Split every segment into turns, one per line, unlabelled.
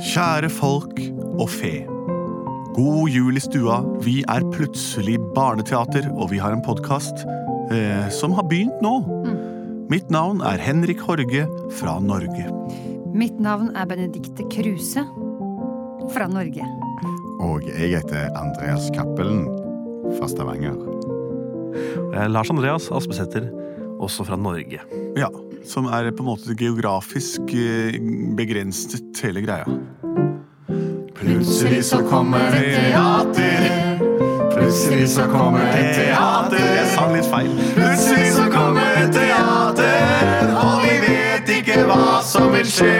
Kjære folk og fe. God jul i stua. Vi er plutselig barneteater, og vi har en podkast eh, som har begynt nå. Mitt navn er Henrik Horge fra Norge.
Mitt navn er Benedikte Kruse fra Norge.
Og jeg heter Andreas Cappelen fra Stavanger.
Eh, Lars Andreas Aspesæter, også fra Norge.
Ja, Som er på en måte geografisk eh, begrenset, hele greia.
Plutselig så kommer det teater. Plutselig så kommer det
Jeg
teater.
sang litt feil.
Plutselig så kommer det teater, og vi vet ikke hva som vil skje.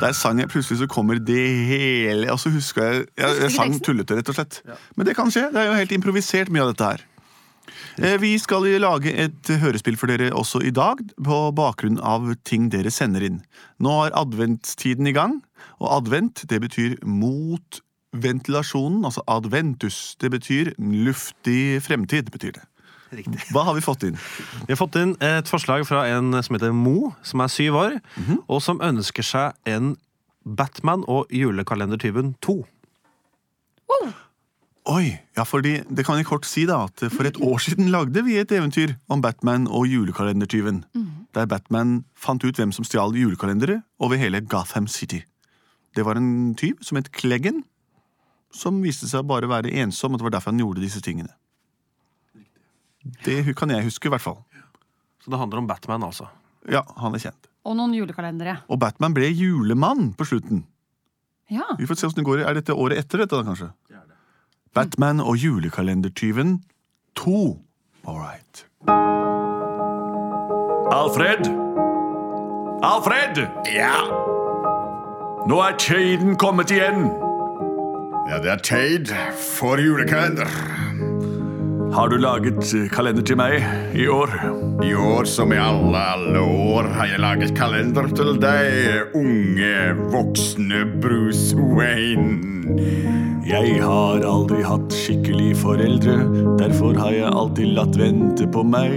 Der sang jeg plutselig så kommer det hele Og så huska jeg Jeg, jeg sang
teksten?
tullete, rett og slett. Men det kan skje. Det er jo helt improvisert, mye av dette her. Eh, Vi skal jo lage et hørespill for dere også i dag, på bakgrunn av ting dere sender inn. Nå er adventstiden i gang, og advent det betyr mot ventilasjonen, altså adventus. Det betyr luftig fremtid, betyr det.
Riktig.
Hva har vi fått inn?
Vi har fått inn et forslag fra en som heter Mo, som er syv år, og som ønsker seg en Batman og julekalendertyven 2.
Oi, ja, fordi Det kan jeg kort si da, at for et år siden lagde vi et eventyr om Batman og julekalendertyven. Der Batman fant ut hvem som stjal julekalendere over hele Gotham City. Det var en tyv som het Kleggen, som viste seg bare å være ensom. og Det var derfor han gjorde disse tingene. Det hu- kan jeg huske, i hvert fall.
Så det handler om Batman, altså.
Ja, han er kjent.
Og noen julekalendere.
Og Batman ble julemann på slutten.
Ja.
Vi får se hvordan det går. Er dette året etter dette, da, kanskje? Batman og julekalendertyven 2. All right.
Alfred? Alfred? Ja? Nå er tiden kommet igjen.
Ja, det er tid for julekalender.
Har du laget eh, kalender til meg i år?
I år som i alle, alle år har jeg laget kalender til deg, unge, voksne Bruce Wayne.
Jeg har aldri hatt skikkelig foreldre, derfor har jeg alltid latt vente på meg.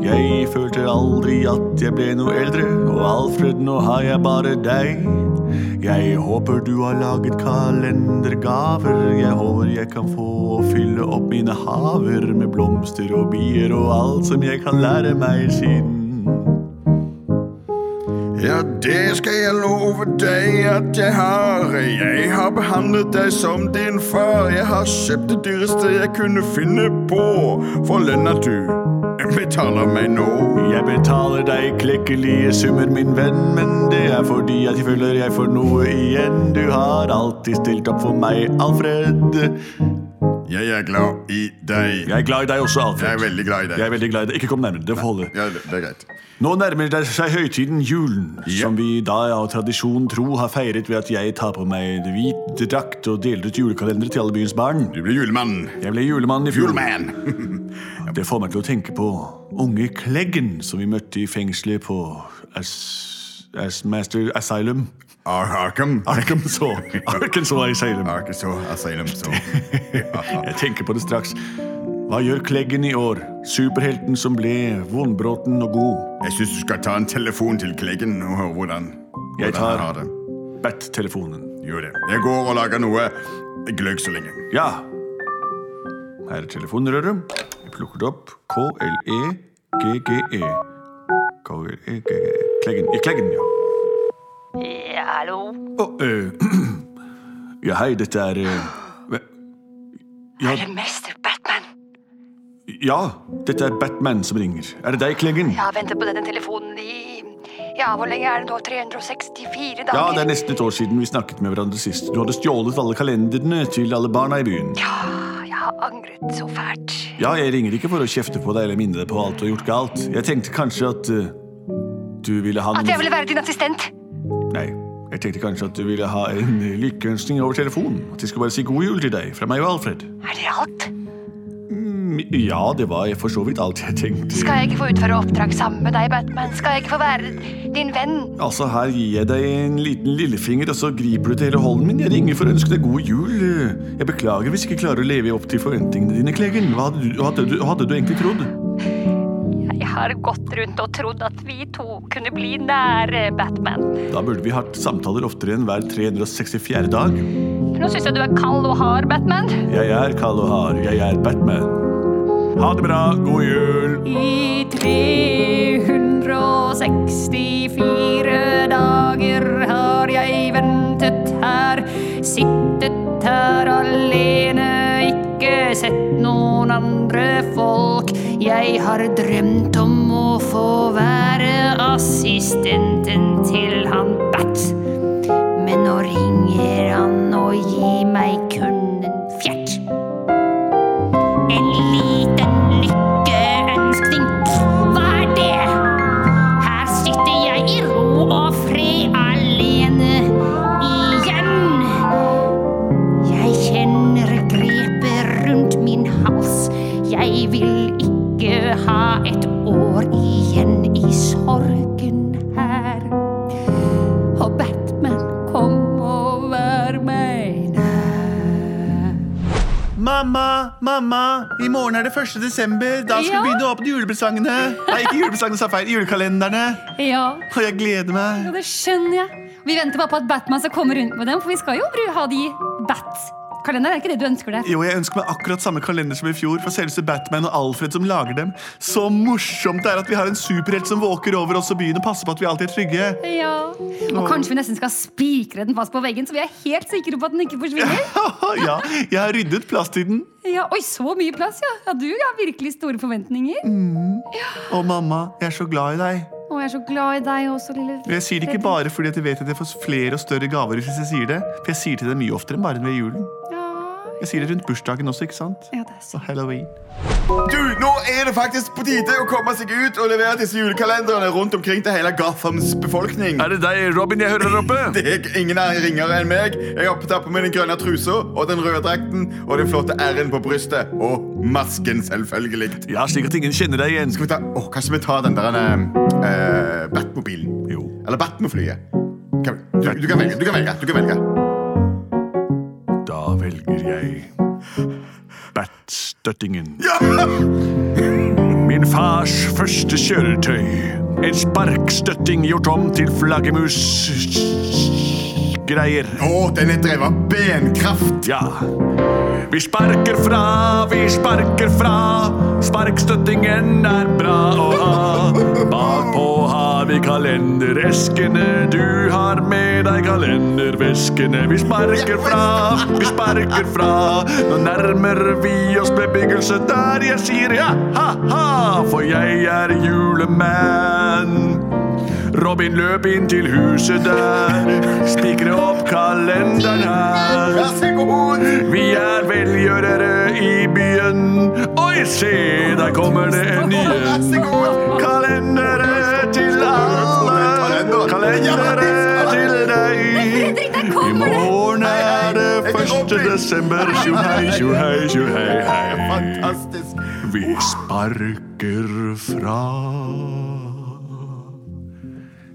Jeg følte aldri at jeg ble noe eldre, og Alfred, nå har jeg bare deg. Jeg håper du har laget kalendergaver, jeg håper jeg kan få å fylle opp mine haver med blomster og bier og alt som jeg kan lære meg siden.
Ja, det skal jeg love deg at jeg har. Jeg har behandlet deg som din far. Jeg har kjøpt det dyreste jeg kunne finne på, for lønna du betaler meg nå.
Jeg betaler deg klekkelige summer, min venn, men det er fordi at jeg føler jeg får noe igjen. Du har alltid stilt opp for meg, Alfred.
Jeg er glad i deg.
Jeg er glad i deg også, Alfred.
Jeg er veldig glad i deg.
Jeg er veldig glad i deg. Ikke kom nærmere. Det får holde.
Ja, det det er greit.
Nå nærmer det seg høytiden julen,
Ja.
som vi da av tradisjon tro har feiret ved at jeg tar på meg hvit drakt og deler ut julekalendere til alle byens barn.
Du blir julemann.
Jeg ble julemann i fjor.
Julemann.
Det får meg til å tenke på unge Kleggen, som vi møtte i fengselet på As... Asmaster Asylum.
Ar Ah, Arkham.
Arkansas. Arkansas Asylum.
Arkansas Asylum. Så.
Jeg tenker på det straks. Hva gjør Kleggen i år? Superhelten som ble vondbråten og god.
Jeg syns du skal ta en telefon til Kleggen og høre hvordan,
Jeg
hvordan han
tar-
har det.
Bat-telefonen.
Gjør det. Jeg går og lager noe gløgg så lenge.
Ja. Her er telefonrøret. Jeg plukker det opp. E K-L-E-G-G-E. E K-L-E-G-G-E. Kleggen. I Kleggen, ja. Hallo? ja, hei, dette er eh, hva- ja,
Herre mester Batman.
ja, dette er Batman som ringer. Er det deg, Kleggen?
Jeg har ventet på denne telefonen i Ja, hvor lenge er det nå? 364 dager?
Ja, det er nesten et år siden vi snakket med hverandre sist. Du hadde stjålet alle kalenderne til alle barna i byen.
Ah, Jeg har angret så fælt.
Ja, jeg ringer ikke for å kjefte på deg eller minne deg på alt du har gjort galt. Jeg tenkte kanskje at eh, du ville ha
At
noen-
jeg ville være din assistent!
Nei, jeg tenkte kanskje at du ville ha en eh, lykkeønskning over telefon. At jeg skulle bare si god jul til deg fra meg og Alfred.
Er det alt?
Mm, Ja, det var for så vidt alt jeg tenkte.
Skal jeg ikke få utføre oppdrag sammen med deg, Batman? Skal jeg ikke få være din venn?
Altså, her gir jeg deg en liten lillefinger, og så griper du til hele hånden min. Jeg ringer for å ønske deg god jul. Jeg beklager hvis jeg ikke klarer å leve opp til forventningene dine, Klegen. Hva hadde du, hva hadde du, hva hadde du egentlig trodd?
Jeg
har gått rundt og trodd at vi to kunne bli nære Batman.
Da burde vi hatt samtaler oftere enn hver 364. dag.
Nå syns jeg du er kald og hard, Batman.
Jeg er kald og hard. Jeg er Batman. Ha det bra. God jul.
I 364 dager har jeg ventet her. Sittet her alene, ikke sett noen andre folk. Jeg har drømt om å få være assistenten til han Bat. Men nå ringer han og gir meg kun en fjert. En liten lykkeønskning. Hva er det? Her sitter jeg i ro og fred alene igjen. Jeg kjenner grepet rundt min hals. Jeg vil ikke ha et år igjen i sorgen her. Og Batman, kom og vær meg nær.
Mamma, mamma, i morgen er det 1. desember. Da skal
Ja.
vi begynne å åpne julepresangene. Nei, ikke julepresangene, sa feil. Julekalenderne.
Ja,
Og jeg gleder meg.
ja, det skjønner jeg. Vi venter bare på at Batman skal komme rundt med dem, for vi skal jo bru- ha de Bat-kalenderen. Er det ikke det du ønsker deg?
Jo, jeg ønsker meg akkurat samme kalender som i fjor fra selveste Batman og Alfred som lager dem. Så morsomt det er at vi har en superhelt som våker over oss og byen og passer på at vi alltid er trygge.
Ja. Og kanskje vi nesten skal spikre den fast på veggen, så vi er helt sikre på at den ikke forsvinner.
ja, jeg har ryddet plass til den.
Ja, Oi, så mye plass, ja. ja du har virkelig store forventninger.
Mm. Og mamma, jeg er så glad i deg.
Og jeg er så glad i deg også, lille
Og jeg sier det ikke bare fordi at jeg vet at jeg får flere og større gaver hvis jeg sier det, for jeg sier til deg mye oftere enn bare ved julen.
Ja,
Jeg sier det rundt bursdagen også, ikke sant?
ja det er så
Og halloween.
Du, nå er det faktisk på tide å komme seg ut og levere disse julekalenderne rundt omkring til hele Gothams befolkning.
Er det deg, Robin, jeg hører der oppe?
Det er ingen er ringere enn meg. Jeg har tatt på meg den grønne trusa og den røde drakten og den flotte r-en på brystet. Og masken, selvfølgelig.
Ja, slik at ingen kjenner deg igjen.
Skal vi ta, åh, kanskje vi tar den der eh, Batmobilen?
Jo.
Eller Batmoflyet? Kan vi- Du, du kan velge. Du kan velge. Du kan velge.
Da velger jeg Batstøttingen.
Ja!
Min fars første kjøretøy. En sparkstøtting gjort om til flaggermusgreier.
Åh, den er drevet av benkraft.
Ja. Vi sparker fra, vi sparker fra. Sparkstøttingen er bra å ha. Bakpå har vi kalendereskene. Du har med deg kalenderveskene. Vi sparker fra, vi sparker fra. Nå nærmer vi oss bebyggelse der jeg sier ja, ha, ha. For jeg er julemann. Robin løp inn til huset der. Spikre opp kalenderen her.
Vær så god.
Vi er velgjørere i byen. Oi, se, der kommer det
Vær
en ny
så god.
kalendere til alle. Kalendere til deg. I morgen er det 1. desember. Tjohei, tjohei, tjohei, hei.
Fantastisk.
Vi sparker fra.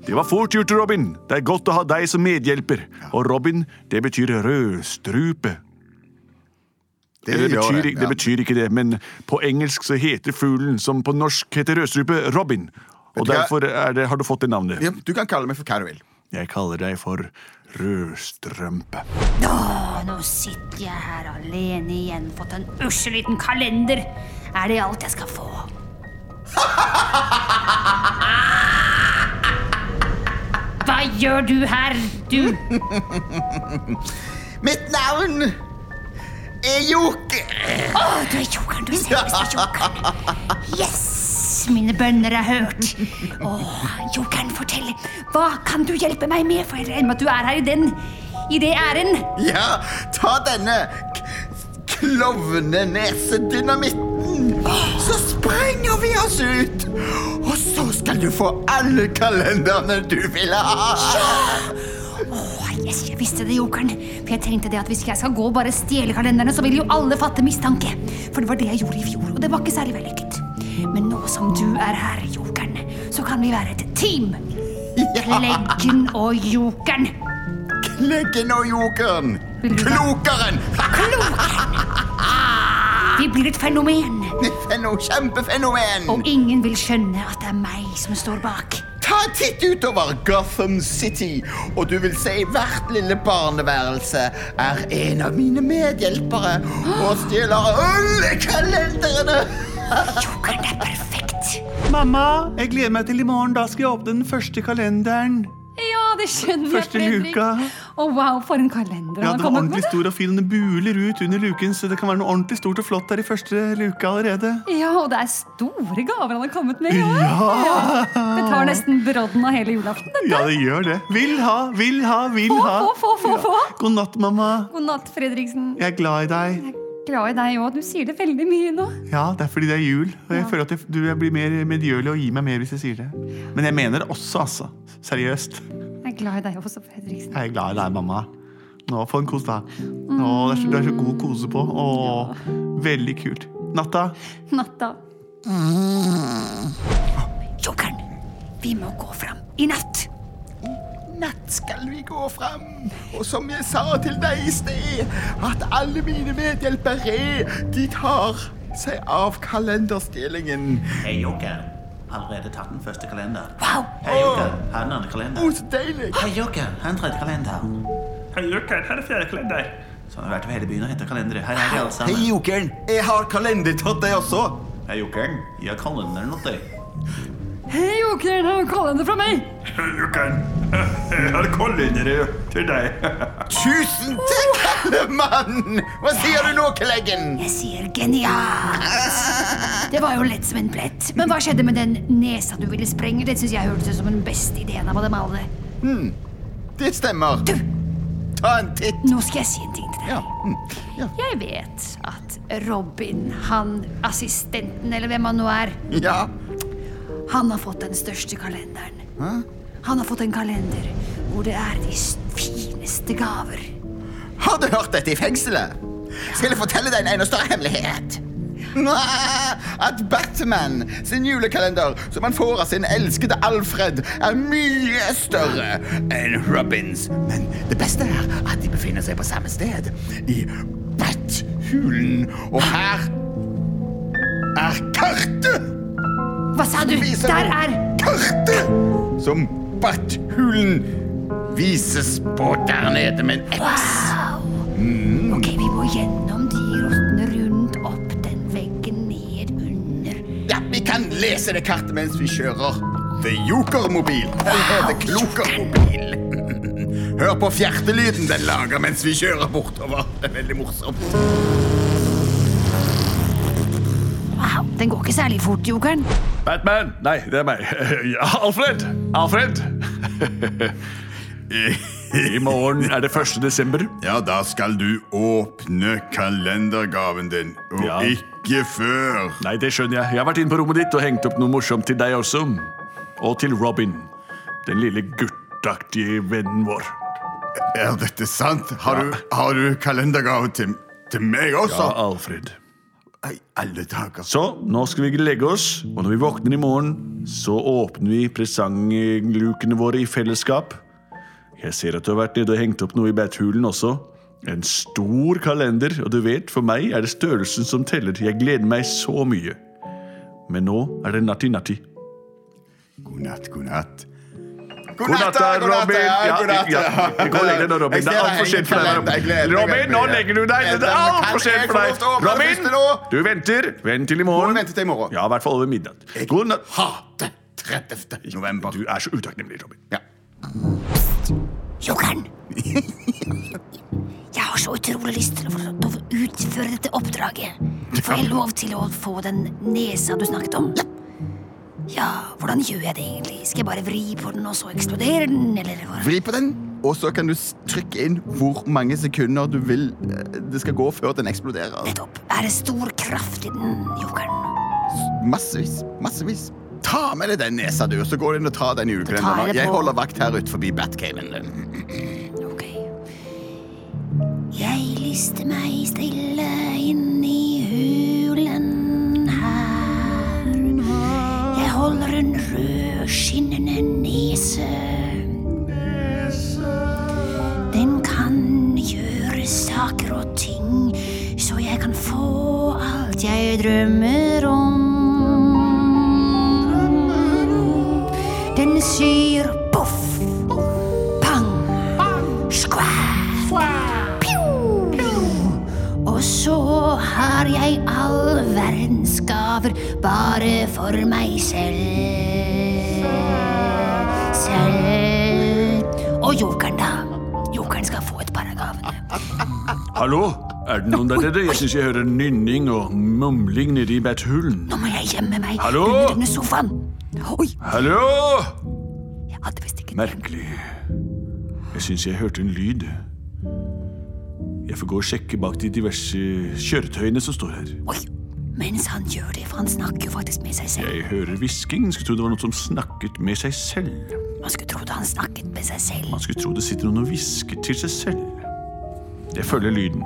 Det var fort gjort, Robin. Det er godt å ha deg som medhjelper. Og Robin, det betyr rødstrupe.
Det,
Det
gjør
betyr,
det,
det betyr ikke det, men på engelsk så heter fuglen som på norsk heter rødstrupe, Robin. Og
du hva?
derfor er det, har du fått det navnet.
ja. Du kan kalle meg for hva du vil.
Jeg kaller deg for rødstrømpe.
Og nå sitter jeg her alene igjen, fått en usseliten kalender. Er det alt jeg skal få? Hva gjør du her, du?
Mitt navn er Joker.
Å, du er jokeren, du er selveste jokeren. Yes, mine bønner er hørt. Å, jokeren, fortell. Hva kan du hjelpe meg med? For jeg regner med at du er her i den, i det æren.
Ja, ta denne k- klovnenesedynamitten. Så sprenger vi oss ut. Og så skal du få alle kalenderne du vil ha.
Åh, Yes, jeg visste det, jokeren. For jeg tenkte det at hvis jeg skal gå og bare stjele kalenderne, så vil jo alle fatte mistanke. For det var det jeg gjorde i fjor, og det var ikke særlig vellykket. Men nå som du er her, jokeren, så kan vi være et team. Kleggen og jokeren.
Kleggen og jokeren.
Vil du-
Klokeren.
Vi blir et fenomen.
et nytt feno- kjempefenomen.
Og ingen vil skjønne at det er meg som står bak.
Ta en titt utover Gotham City, og du vil se hvert lille barneværelse er en av mine medhjelpere og stjeler alle kalenderne.
Jokeren, det er perfekt.
Mamma, jeg gleder meg til i morgen. Da skal jeg åpne den første kalenderen.
Ja, det skjønner
Første
jeg, Fredrik.
luka.
Å, wow, for en kalender
Ja, Den var
han har kommet med.
ordentlig stor og fin, og den buler ut under luken, så det kan være noe ordentlig stort og flott der i første luke allerede.
Ja, og det er store gaver han har kommet med i år. Det tar nesten brodden av hele julaften. dette.
Ja, det gjør det. Vil ha, vil ha, vil
Få,
ha.
få, få, få, få.
God natt, mamma.
God natt, Fredriksen.
Jeg er glad i deg.
Jeg er glad i deg òg. Du sier det veldig mye nå.
Ja, det er fordi det er jul, og jeg føler at jeg, du jeg blir mer medgjørlig og gir meg mer hvis jeg sier det. Men jeg mener det også, altså. Seriøst.
Jeg er glad i deg også, Fredriksen.
Jeg er glad i deg, mamma. Nå, få en kos, da. Nå, det er så, du er så god å kose på. Å, veldig kult. Natta.
Natta.
Jokeren, vi må gå fram i natt.
Natt skal vi gå fram, og som jeg sa til deg i sted, at alle mine medhjelpere, de tar seg av kalenderstjelingen.
Hei, Joker. Allerede tatt den første kalender.
Wow.
Hei, Joker. Her er den andre kalender.
Å, så deilig.
Hei, Joker. Her er den tredje kalender.
Hei, Jokeren, her er fjerde kalender.
Sånn har vi vært over hele byen og henta kalendere. Her er de alle sammen.
Hei, jokeren. Jeg har kalender til deg også.
Hei, Jokeren. Jeg har kalenderen åt deg.
Hei, jokeren, her er kalender fra meg.
Hei, Jokeren. Jeg har kalendere til deg.
Tusen takk, Kallemann! Hva sier du nå, Kleggen?
Jeg sier genialt. Det var jo lett som en plett. Men hva skjedde med den nesa du ville sprenge? Det syns jeg hørtes ut som den beste ideen av dem alle.
Det stemmer. Ta en titt.
Nå skal jeg si en ting til deg.
Ja. mm, ja.
Jeg vet at Robin, han assistenten, eller hvem han nå er,
ja.
han har fått den største kalenderen. Han har fått en kalender hvor det er de s- fineste gaver.
Har du hørt dette i fengselet? Skal jeg fortelle deg en enda større hemmelighet? Nå, At Batman sin julekalender, som han får av sin elskede Alfred, er mye større enn Robins. Men det beste er at de befinner seg på samme sted, i Bat-hulen. Og her er kartet!
Hva sa du?
Viser
Der
meg
er
kartet som Barthulen vises på der nede med en X.
Ok, vi må gjennom de rotene rundt, opp den veggen, ned under.
Ja, vi kan lese det kartet mens vi kjører. The Jokermobil. Eller The Klokermobil. Hør på fjertelyden den lager mens vi kjører bortover. Det er veldig morsomt.
Wow, den går ikke særlig fort, jokeren.
Batman! Nei, det er meg. Ja, Alfred! Alfred! I morgen er det 1. desember.
Ja, da skal du åpne kalendergaven din, og
Ja.
ikke før.
Nei, det skjønner jeg. Jeg har vært inne på rommet ditt og hengt opp noe morsomt til deg også. Og til Robin. Den lille guttaktige vennen vår.
Er dette sant? Har, du, har du kalendergave til, til meg også?
Ja, Alfred.
Nei, alle dager.
Så nå skal vi legge oss, og når vi våkner i morgen, så åpner vi presanglukene våre i fellesskap. Jeg ser at du har vært nede og hengt opp noe i beithulen også. En stor kalender, og du vet, for meg er det størrelsen som teller. Jeg gleder meg så mye. Men nå er det natti-natti.
God natt, god natt.
God natt, da, Robin. Ja, ja, ja. Gå og legg deg nå, Robin. Det er alt for sent for deg. Robin. Robin, nå legger du deg. Det er alt for sent for deg. Robin, du venter. Vent til i
Må
morgen.
vente til i morgen.
Ja, i hvert fall over midnatt. God natt.
Hater 30. november.
Du er så utakknemlig, Robin.
Ja.
Jokeren! Jeg har så utrolig lyst til å få lov til å utføre dette oppdraget. Får jeg lov til å få den nesa du snakket om? Ja, hvordan gjør jeg det egentlig? Skal jeg bare vri på den, og så eksplodere den, eller hva?
Vri på den, og så kan du s- trykke inn hvor mange sekunder du vil eh, det skal gå før den eksploderer.
Nettopp. Er det stor kraft i den, jokeren?
Massevis. Massevis. Ta med deg den nesa, du, og så går du inn og tar den
tar
julekalenderen.
jeg det
Jeg
på.
holder vakt her ut forbi Batcaven din.
Ok. Jeg lister meg stille inn i hulen her. Jeg holder en rød, skinnende nese. Den kan gjøre saker og ting, så jeg kan få alt jeg drømmer har jeg all verdens gaver bare for meg selv. Selv. Og jokeren, da. Jokeren skal få et par av gavene.
Hallo? Er det noen der nede? Jeg syns jeg hører nynning og mumling nede i bethulen.
Nå må jeg gjemme meg
Hallo?
under denne sofaen. Oi,
Hallo?
jeg hadde visst ikke
Merkelig. Jeg syns jeg hørte en lyd. Jeg får gå og sjekke bak de diverse kjøretøyene som står her.
Oi, mens han gjør det, for han snakker jo faktisk med seg selv.
Jeg hører hvisking. Skulle tro det var noen som snakket med seg selv.
Man skulle trodd han snakket med seg selv.
Man skulle tro det sitter noen og hvisker til seg selv. Jeg følger lyden.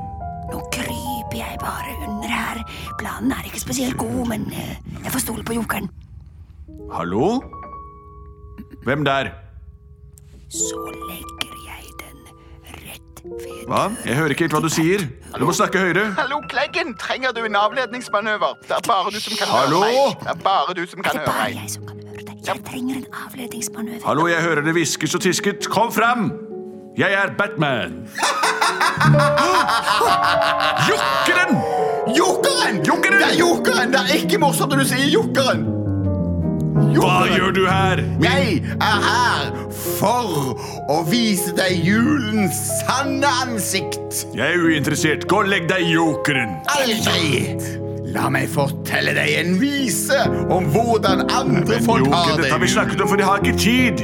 Nå kryper jeg bare under her. Planen er ikke spesielt god, men eh, jeg får stole på jokeren.
Hallo? Hvem der?
Så legger jeg den rett ved
Hva? Jeg hører ikke helt hva du sier. Du må snakke høyere.
Hallo, Kleggen! Trenger du en avledningsmanøver? Det er bare du som kan
Hallo?
høre meg. Det er bare du som
Det
kan
er
høre
bare
meg.
jeg som kan høre deg. Jeg trenger en avledningsmanøver.
Hallo, jeg hører det hviskes og tisket. Kom fram! Jeg er Batman. Jokkeren!
Jokeren!
Jokeren!
Det er jokeren! Det er ikke morsomt når du sier jokeren!
Hva gjør du her?
Jeg er her for å vise deg julens sanne ansikt.
Jeg er uinteressert. Gå og legg deg, jokeren.
Aldri! La meg fortelle deg en vise om hvordan andre folk har
Jokeren,
det.
dette har vi snakket om, for de har ikke tid.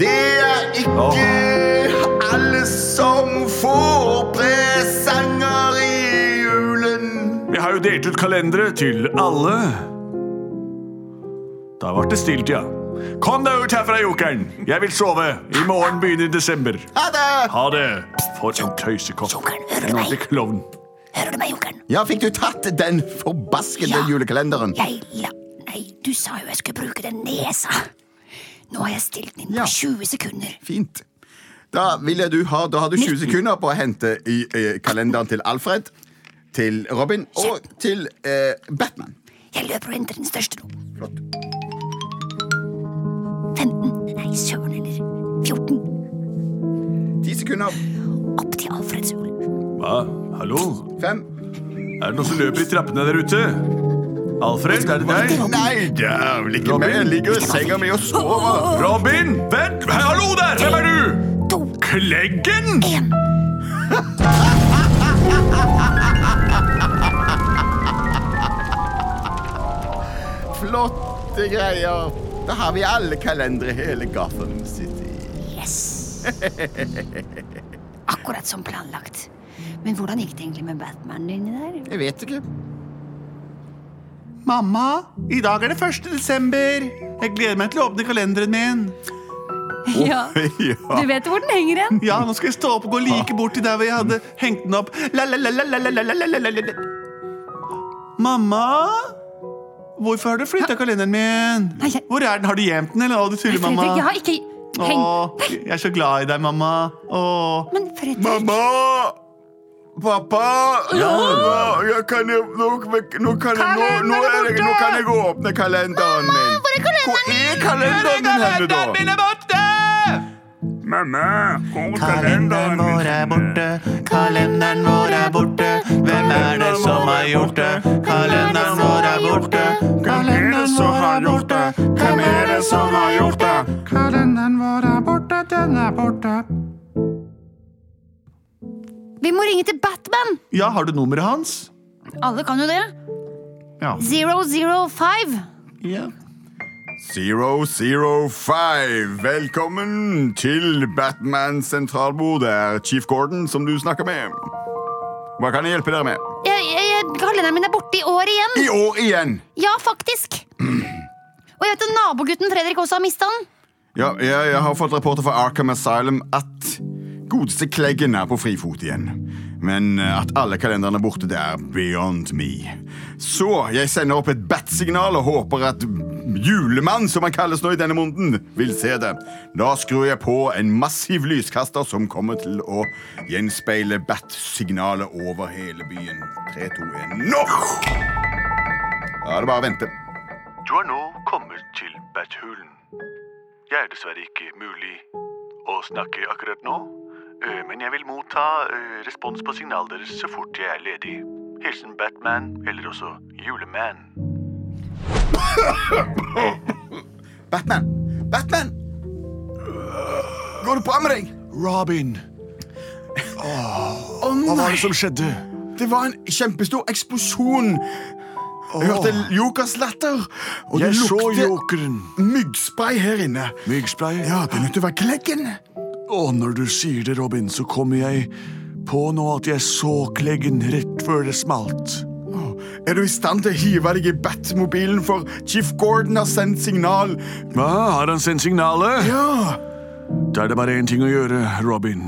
Det er ikke alle som får presanger i julen.
Vi har jo delt ut kalendere til alle. Da ble det stilt, ja. Kom deg ut herfra, jokeren. Jeg vil sove. I morgen begynner desember.
Ha det!
Ha det. For en tøysekopp.
Jokeren, hører
En
du
ordentlig
meg?
klovn.
Hører du meg, jokeren?
Ja, fikk du tatt den forbaskede
Ja.
julekalenderen?
Jeg la... Nei, du sa jo jeg skulle bruke den nesa. Nå har jeg stilt den inn
Ja.
på 20 sekunder.
Fint. Da, vil jeg du ha, da har du 20 sekunder på å hente i, eh, kalenderen til Alfred, til Robin og til eh, Batman.
Jeg løper og henter den største nå. Flott. 15. Nei, søren heller. 14.
10 sekunder.
Opp til Alfreds hul.
Hva? Hallo?
5
Er det noen som løper i trappene der ute? Alfred, er det deg?
Nei, det er vel ikke meg. Jeg ligger i senga mi og sover.
Robin, vent! Hei, Hallo der! Hvem er du?
To.
Kleggen?
En.
Flotte greier. Da har vi alle kalendere i hele Gotham City.
Yes. Akkurat som planlagt. Men hvordan gikk det egentlig med Batman inni der?
Jeg vet ikke.
Mamma, i dag er det 1. desember. Jeg gleder meg til å åpne kalenderen min.
Ja. Du vet hvor den henger hen?
Ja, nå skal jeg stå opp og gå like bort til der hvor jeg hadde hengt den opp. La, la, la, la, la, la, la, la, la, la, la. Mamma? Hvorfor har du flytta kalenderen min?
Nei, jeg-
Hvor er den? Har du gjemt den, eller? Å, du tuller, mamma.
Fredrik, jeg har ikke heng...
Å, jeg er så glad i deg, mamma. Å.
Men Fredrik
Mamma! Pappa! Mamma, Jeg kan jo, nå, nå, kan jeg, nå, nå, er jeg, nå kan jeg gå og åpne kalenderen min. Mamma, hvor er kalenderen min? Hvor er kalenderen din henne, da?
Mamma, hvor er
Kalenderen vår er borte, kalenderen vår er borte. Hvem er det som har gjort det? Kalenderen vår er borte, kalenderen vår er borte. Hvem er det som har gjort det? Kalenderen vår er borte, den er borte.
Vi må ringe til Batman!
Ja, har du nummeret hans?
Alle kan jo det.
Ja.
005.
Ja.
005. Velkommen til Batman sentralbord. Det er Chief Gordon som du snakker med. Hva kan jeg hjelpe dere med?
Jeg, jeg, jeg, kalenderen min er borte i år igjen.
I år igjen!
Ja, faktisk. Og jeg vet at nabogutten Fredrik også har mista den.
Ja, jeg, jeg har fått rapporter fra Arkham Asylum at godeste Kleggen er på frifot igjen. Men eh, at alle kalenderne er borte, det er beyond me. Så jeg sender opp et bat-signal og håper at julemann, som han kalles nå i denne måneden, vil se det. Da skrur jeg på en massiv lyskaster som kommer til å gjenspeile bat-signalet over hele byen. 3, 2, 1, nå! Da er det bare å vente.
Du har nå kommet til Bathulen. Jeg er dessverre ikke mulig å snakke akkurat nå, eh, men jeg vil motta eh, respons på signalet deres så fort jeg er ledig.
Hilsen Batman, eller også Juleman.
Batman! Batman! Går det bra med deg?
Robin,
Å
hva var
nei!
det som skjedde?
Det var en kjempestor eksplosjon. Jeg hørte Jokers latter, og det
Jeg så
lukter
jokeren.
myggspray her inne.
Myggspray.
Ja, det er nødt til å være kleggen.
Og når du sier det, Robin, så kommer jeg på nå at jeg så kleggen rett før det smalt.
Åh, Er du i stand til å hive deg i Batmobilen, for Chief Gordon har sendt signal?
Hva, har han sendt signalet?
Ja!
Da er det bare én ting å gjøre, Robin.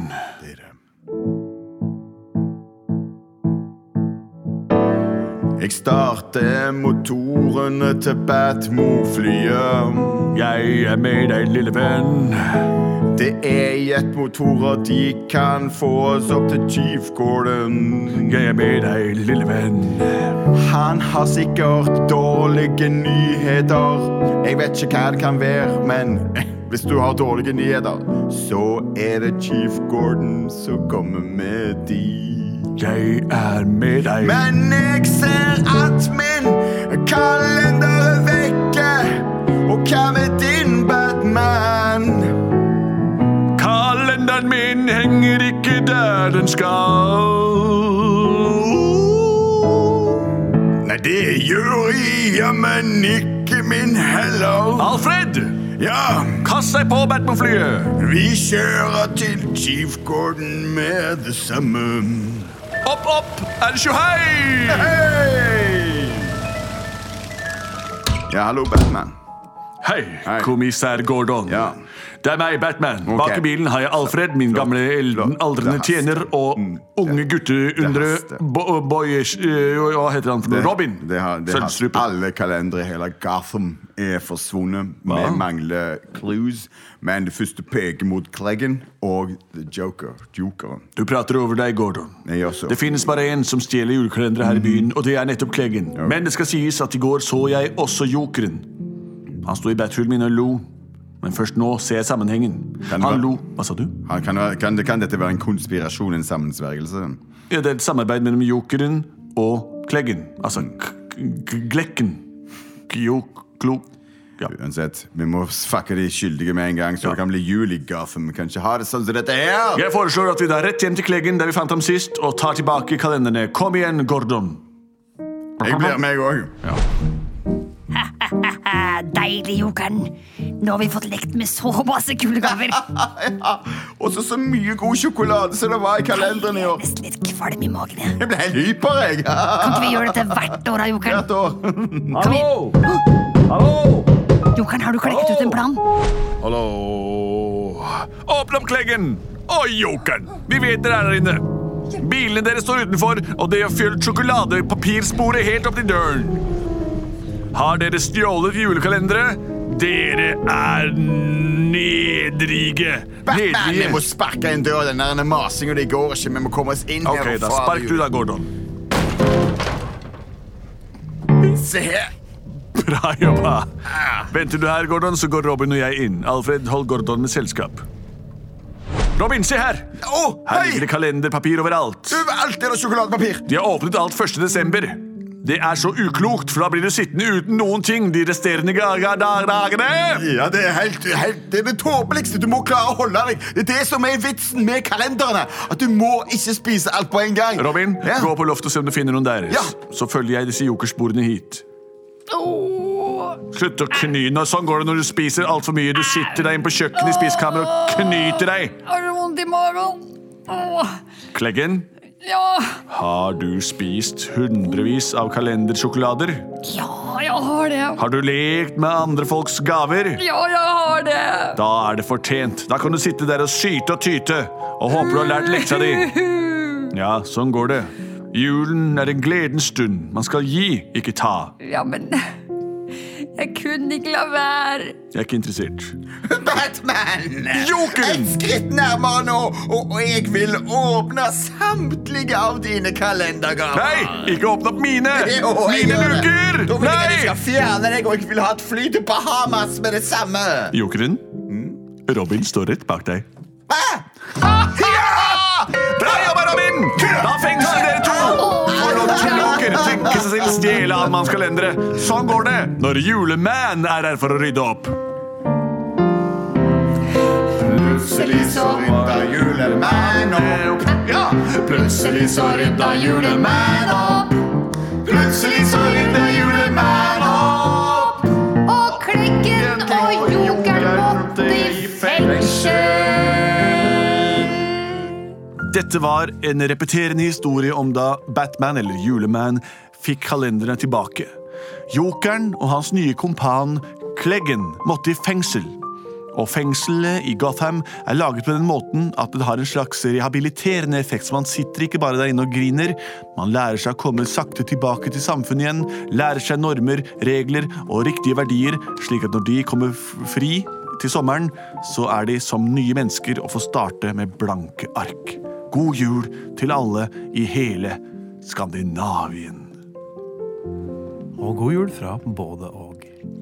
Jeg starter motorene til Batmo-flyet.
Jeg er med deg, lille venn.
Det er jetmotorer, de kan få oss opp til Chief Gordon.
Jeg er med deg, lille venn.
Han har sikkert dårlige nyheter. Jeg vet ikke hva det kan være, men hvis du har dårlige nyheter, så er det Chief Gordon som kommer med de.
Jeg er med deg.
Men jeg ser at min kalender er vekke. Og hva med din Batman?
Kalenderen min henger ikke der den skal.
Nei, det gjør jeg jammen ikke min heller.
Alfred!
Ja,
Kast deg på Batman-flyet!
vi kjører til Chief Gordon med det samme.
Opp, opp! Er det tjohei?
Hei! Ja, hallo, Batman.
Hei,
Hei.
kommissær Gordon.
Ja.
Det er meg, Batman. Bak i bilen har jeg Alfred, min gamle elden,
flott.
aldrende
Det haster. Mm.
tjener og unge gutteundre
haster.
bo- boyers eh, Hva heter han for noe? Robin.
Det har, det har,
Sølvstrupe.
alle kalendere i hele Gotham er forsvunnet. Vi mangler clues, men det første peker mot Kleggen og The Joker. Jokeren.
Du prater over deg, Gordon.
Jeg gjør så. Mm.
Det finnes bare én som stjeler julekalendere her i byen, og det er nettopp Kleggen. Men det skal sies at i går så jeg også jokeren. Han sto i bathullen min og lo. Men først nå ser jeg sammenhengen.
Kan det
Han
være-
lo Hva sa du?
Han kan, være- kan, det- kan dette være en konspirasjon, en sammensvergelse?
Ja, det er et samarbeid mellom jokeren og Kleggen. Altså k- k- Glekken. Kjok... Klok... Ja.
Uansett, vi må fucke de skyldige med en gang, så det kan bli jul i Gotham. Vi kan ikke ha det sånn som dette her!
Jeg foreslår at vi drar rett hjem til Kleggen, der vi fant ham sist, og tar tilbake kalenderne. Kom igjen, Gordon.
Jeg blir meg òg.
Eh, Deilig, jokeren. Nå har vi fått lekt med så masse kule gaver.
Og så så mye god sjokolade som det var i kalenderen i
Jeg er
år.
nesten litt kvalm i magen. jeg.
Jeg ble helt hyper, jeg.
Kan ikke vi gjøre dette hvert år, da, jokeren?
Hvert år.
Kan vi... Jokeren, har du klekket ut en plan?
Hallo Åpne opp kleggen! Å, jokeren! Vi vet dere er der inne. Bilene deres står utenfor, og det har fylt sjokoladepapirsporet helt opp til døren. Har dere stjålet julekalendere? Dere er nedrige.
Batman, vi må sparke inn døra. Den der masinga det går ikke. Vi må komme oss inn
Ok,
her. og
da
få av
spark du
jul.
da, Gordon.
Se her.
Bra jobba. Venter du her, Gordon, så går Robin og jeg inn. Alfred, hold Gordon med selskap. Robin, se her!
Å,
Her
hei!
ligger det kalenderpapir overalt.
Overalt er det sjokoladepapir.
De har åpnet alt 1. desember. Det er så uklokt, for da blir du sittende uten noen ting de resterende ga- ga- da- dagene.
Ja, Det er helt, helt, det er det tåpeligste. Du må klare å holde deg. Det er det som er vitsen med kalenderne. At du må ikke spise alt på en gang.
Robin,
ja.
gå på loftet og se om du finner noen deres.
Ja.
Så følger jeg disse jokersporene hit. Slutt å knyne. Sånn går det når du spiser altfor mye. Du sitter deg inn på kjøkkenet i spisekammeret og knyter deg.
Har du vondt i magen? Åh,
Kleggen,
ja,
har du spist hundrevis av kalendersjokolader?
ja, jeg har det.
Har du lekt med andre folks gaver?
Ja, jeg har det.
Da er det fortjent. Da kan du sitte der og syte og tyte og håpe du har lært leksa di. Ja, sånn går det. Julen er en gledens stund. Man skal gi, ikke ta.
Ja, men jeg kunne ikke la være.
Jeg er ikke interessert.
Batman!
Jokeren!
Et skritt nærmere nå, og og jeg vil åpne samtlige av dine kalendergaver.
Nei, ikke åpne opp mine!
Jo, jeg
Mine
gjør det.
luker!
Da vil jeg at jeg
Nei!
skal fjerne deg, og jeg vil ha et fly til Bahamas med det samme.
Jokeren, Robin står rett bak deg.
Ah!
Bra jobba, Robin! Da fengsler dere to!
Au!
allmannskalendere. Sånn går det når Juleman er her for å rydde opp.
Plutselig så rydda julemann opp. Ja, plutselig så rydda julemann opp. Plutselig så rydda julemann opp.
Og klikken og jokeren måtte i fengsel.
Dette var en repeterende historie om da Batman, eller Juleman, fikk kalenderne tilbake. Jokeren og hans nye kompan Kleggen måtte i fengsel. Og fengselet i Gotham er laget på den måten at det har en slags rehabiliterende effekt. Så man sitter ikke bare der inne og griner. Man lærer seg å komme sakte tilbake til samfunnet igjen. Lærer seg normer, regler og riktige verdier, slik at når de kommer f- fri til sommeren, så er de som nye mennesker og får starte med blanke ark. God jul til alle i hele Skandinavien.
Og god jul fra både og.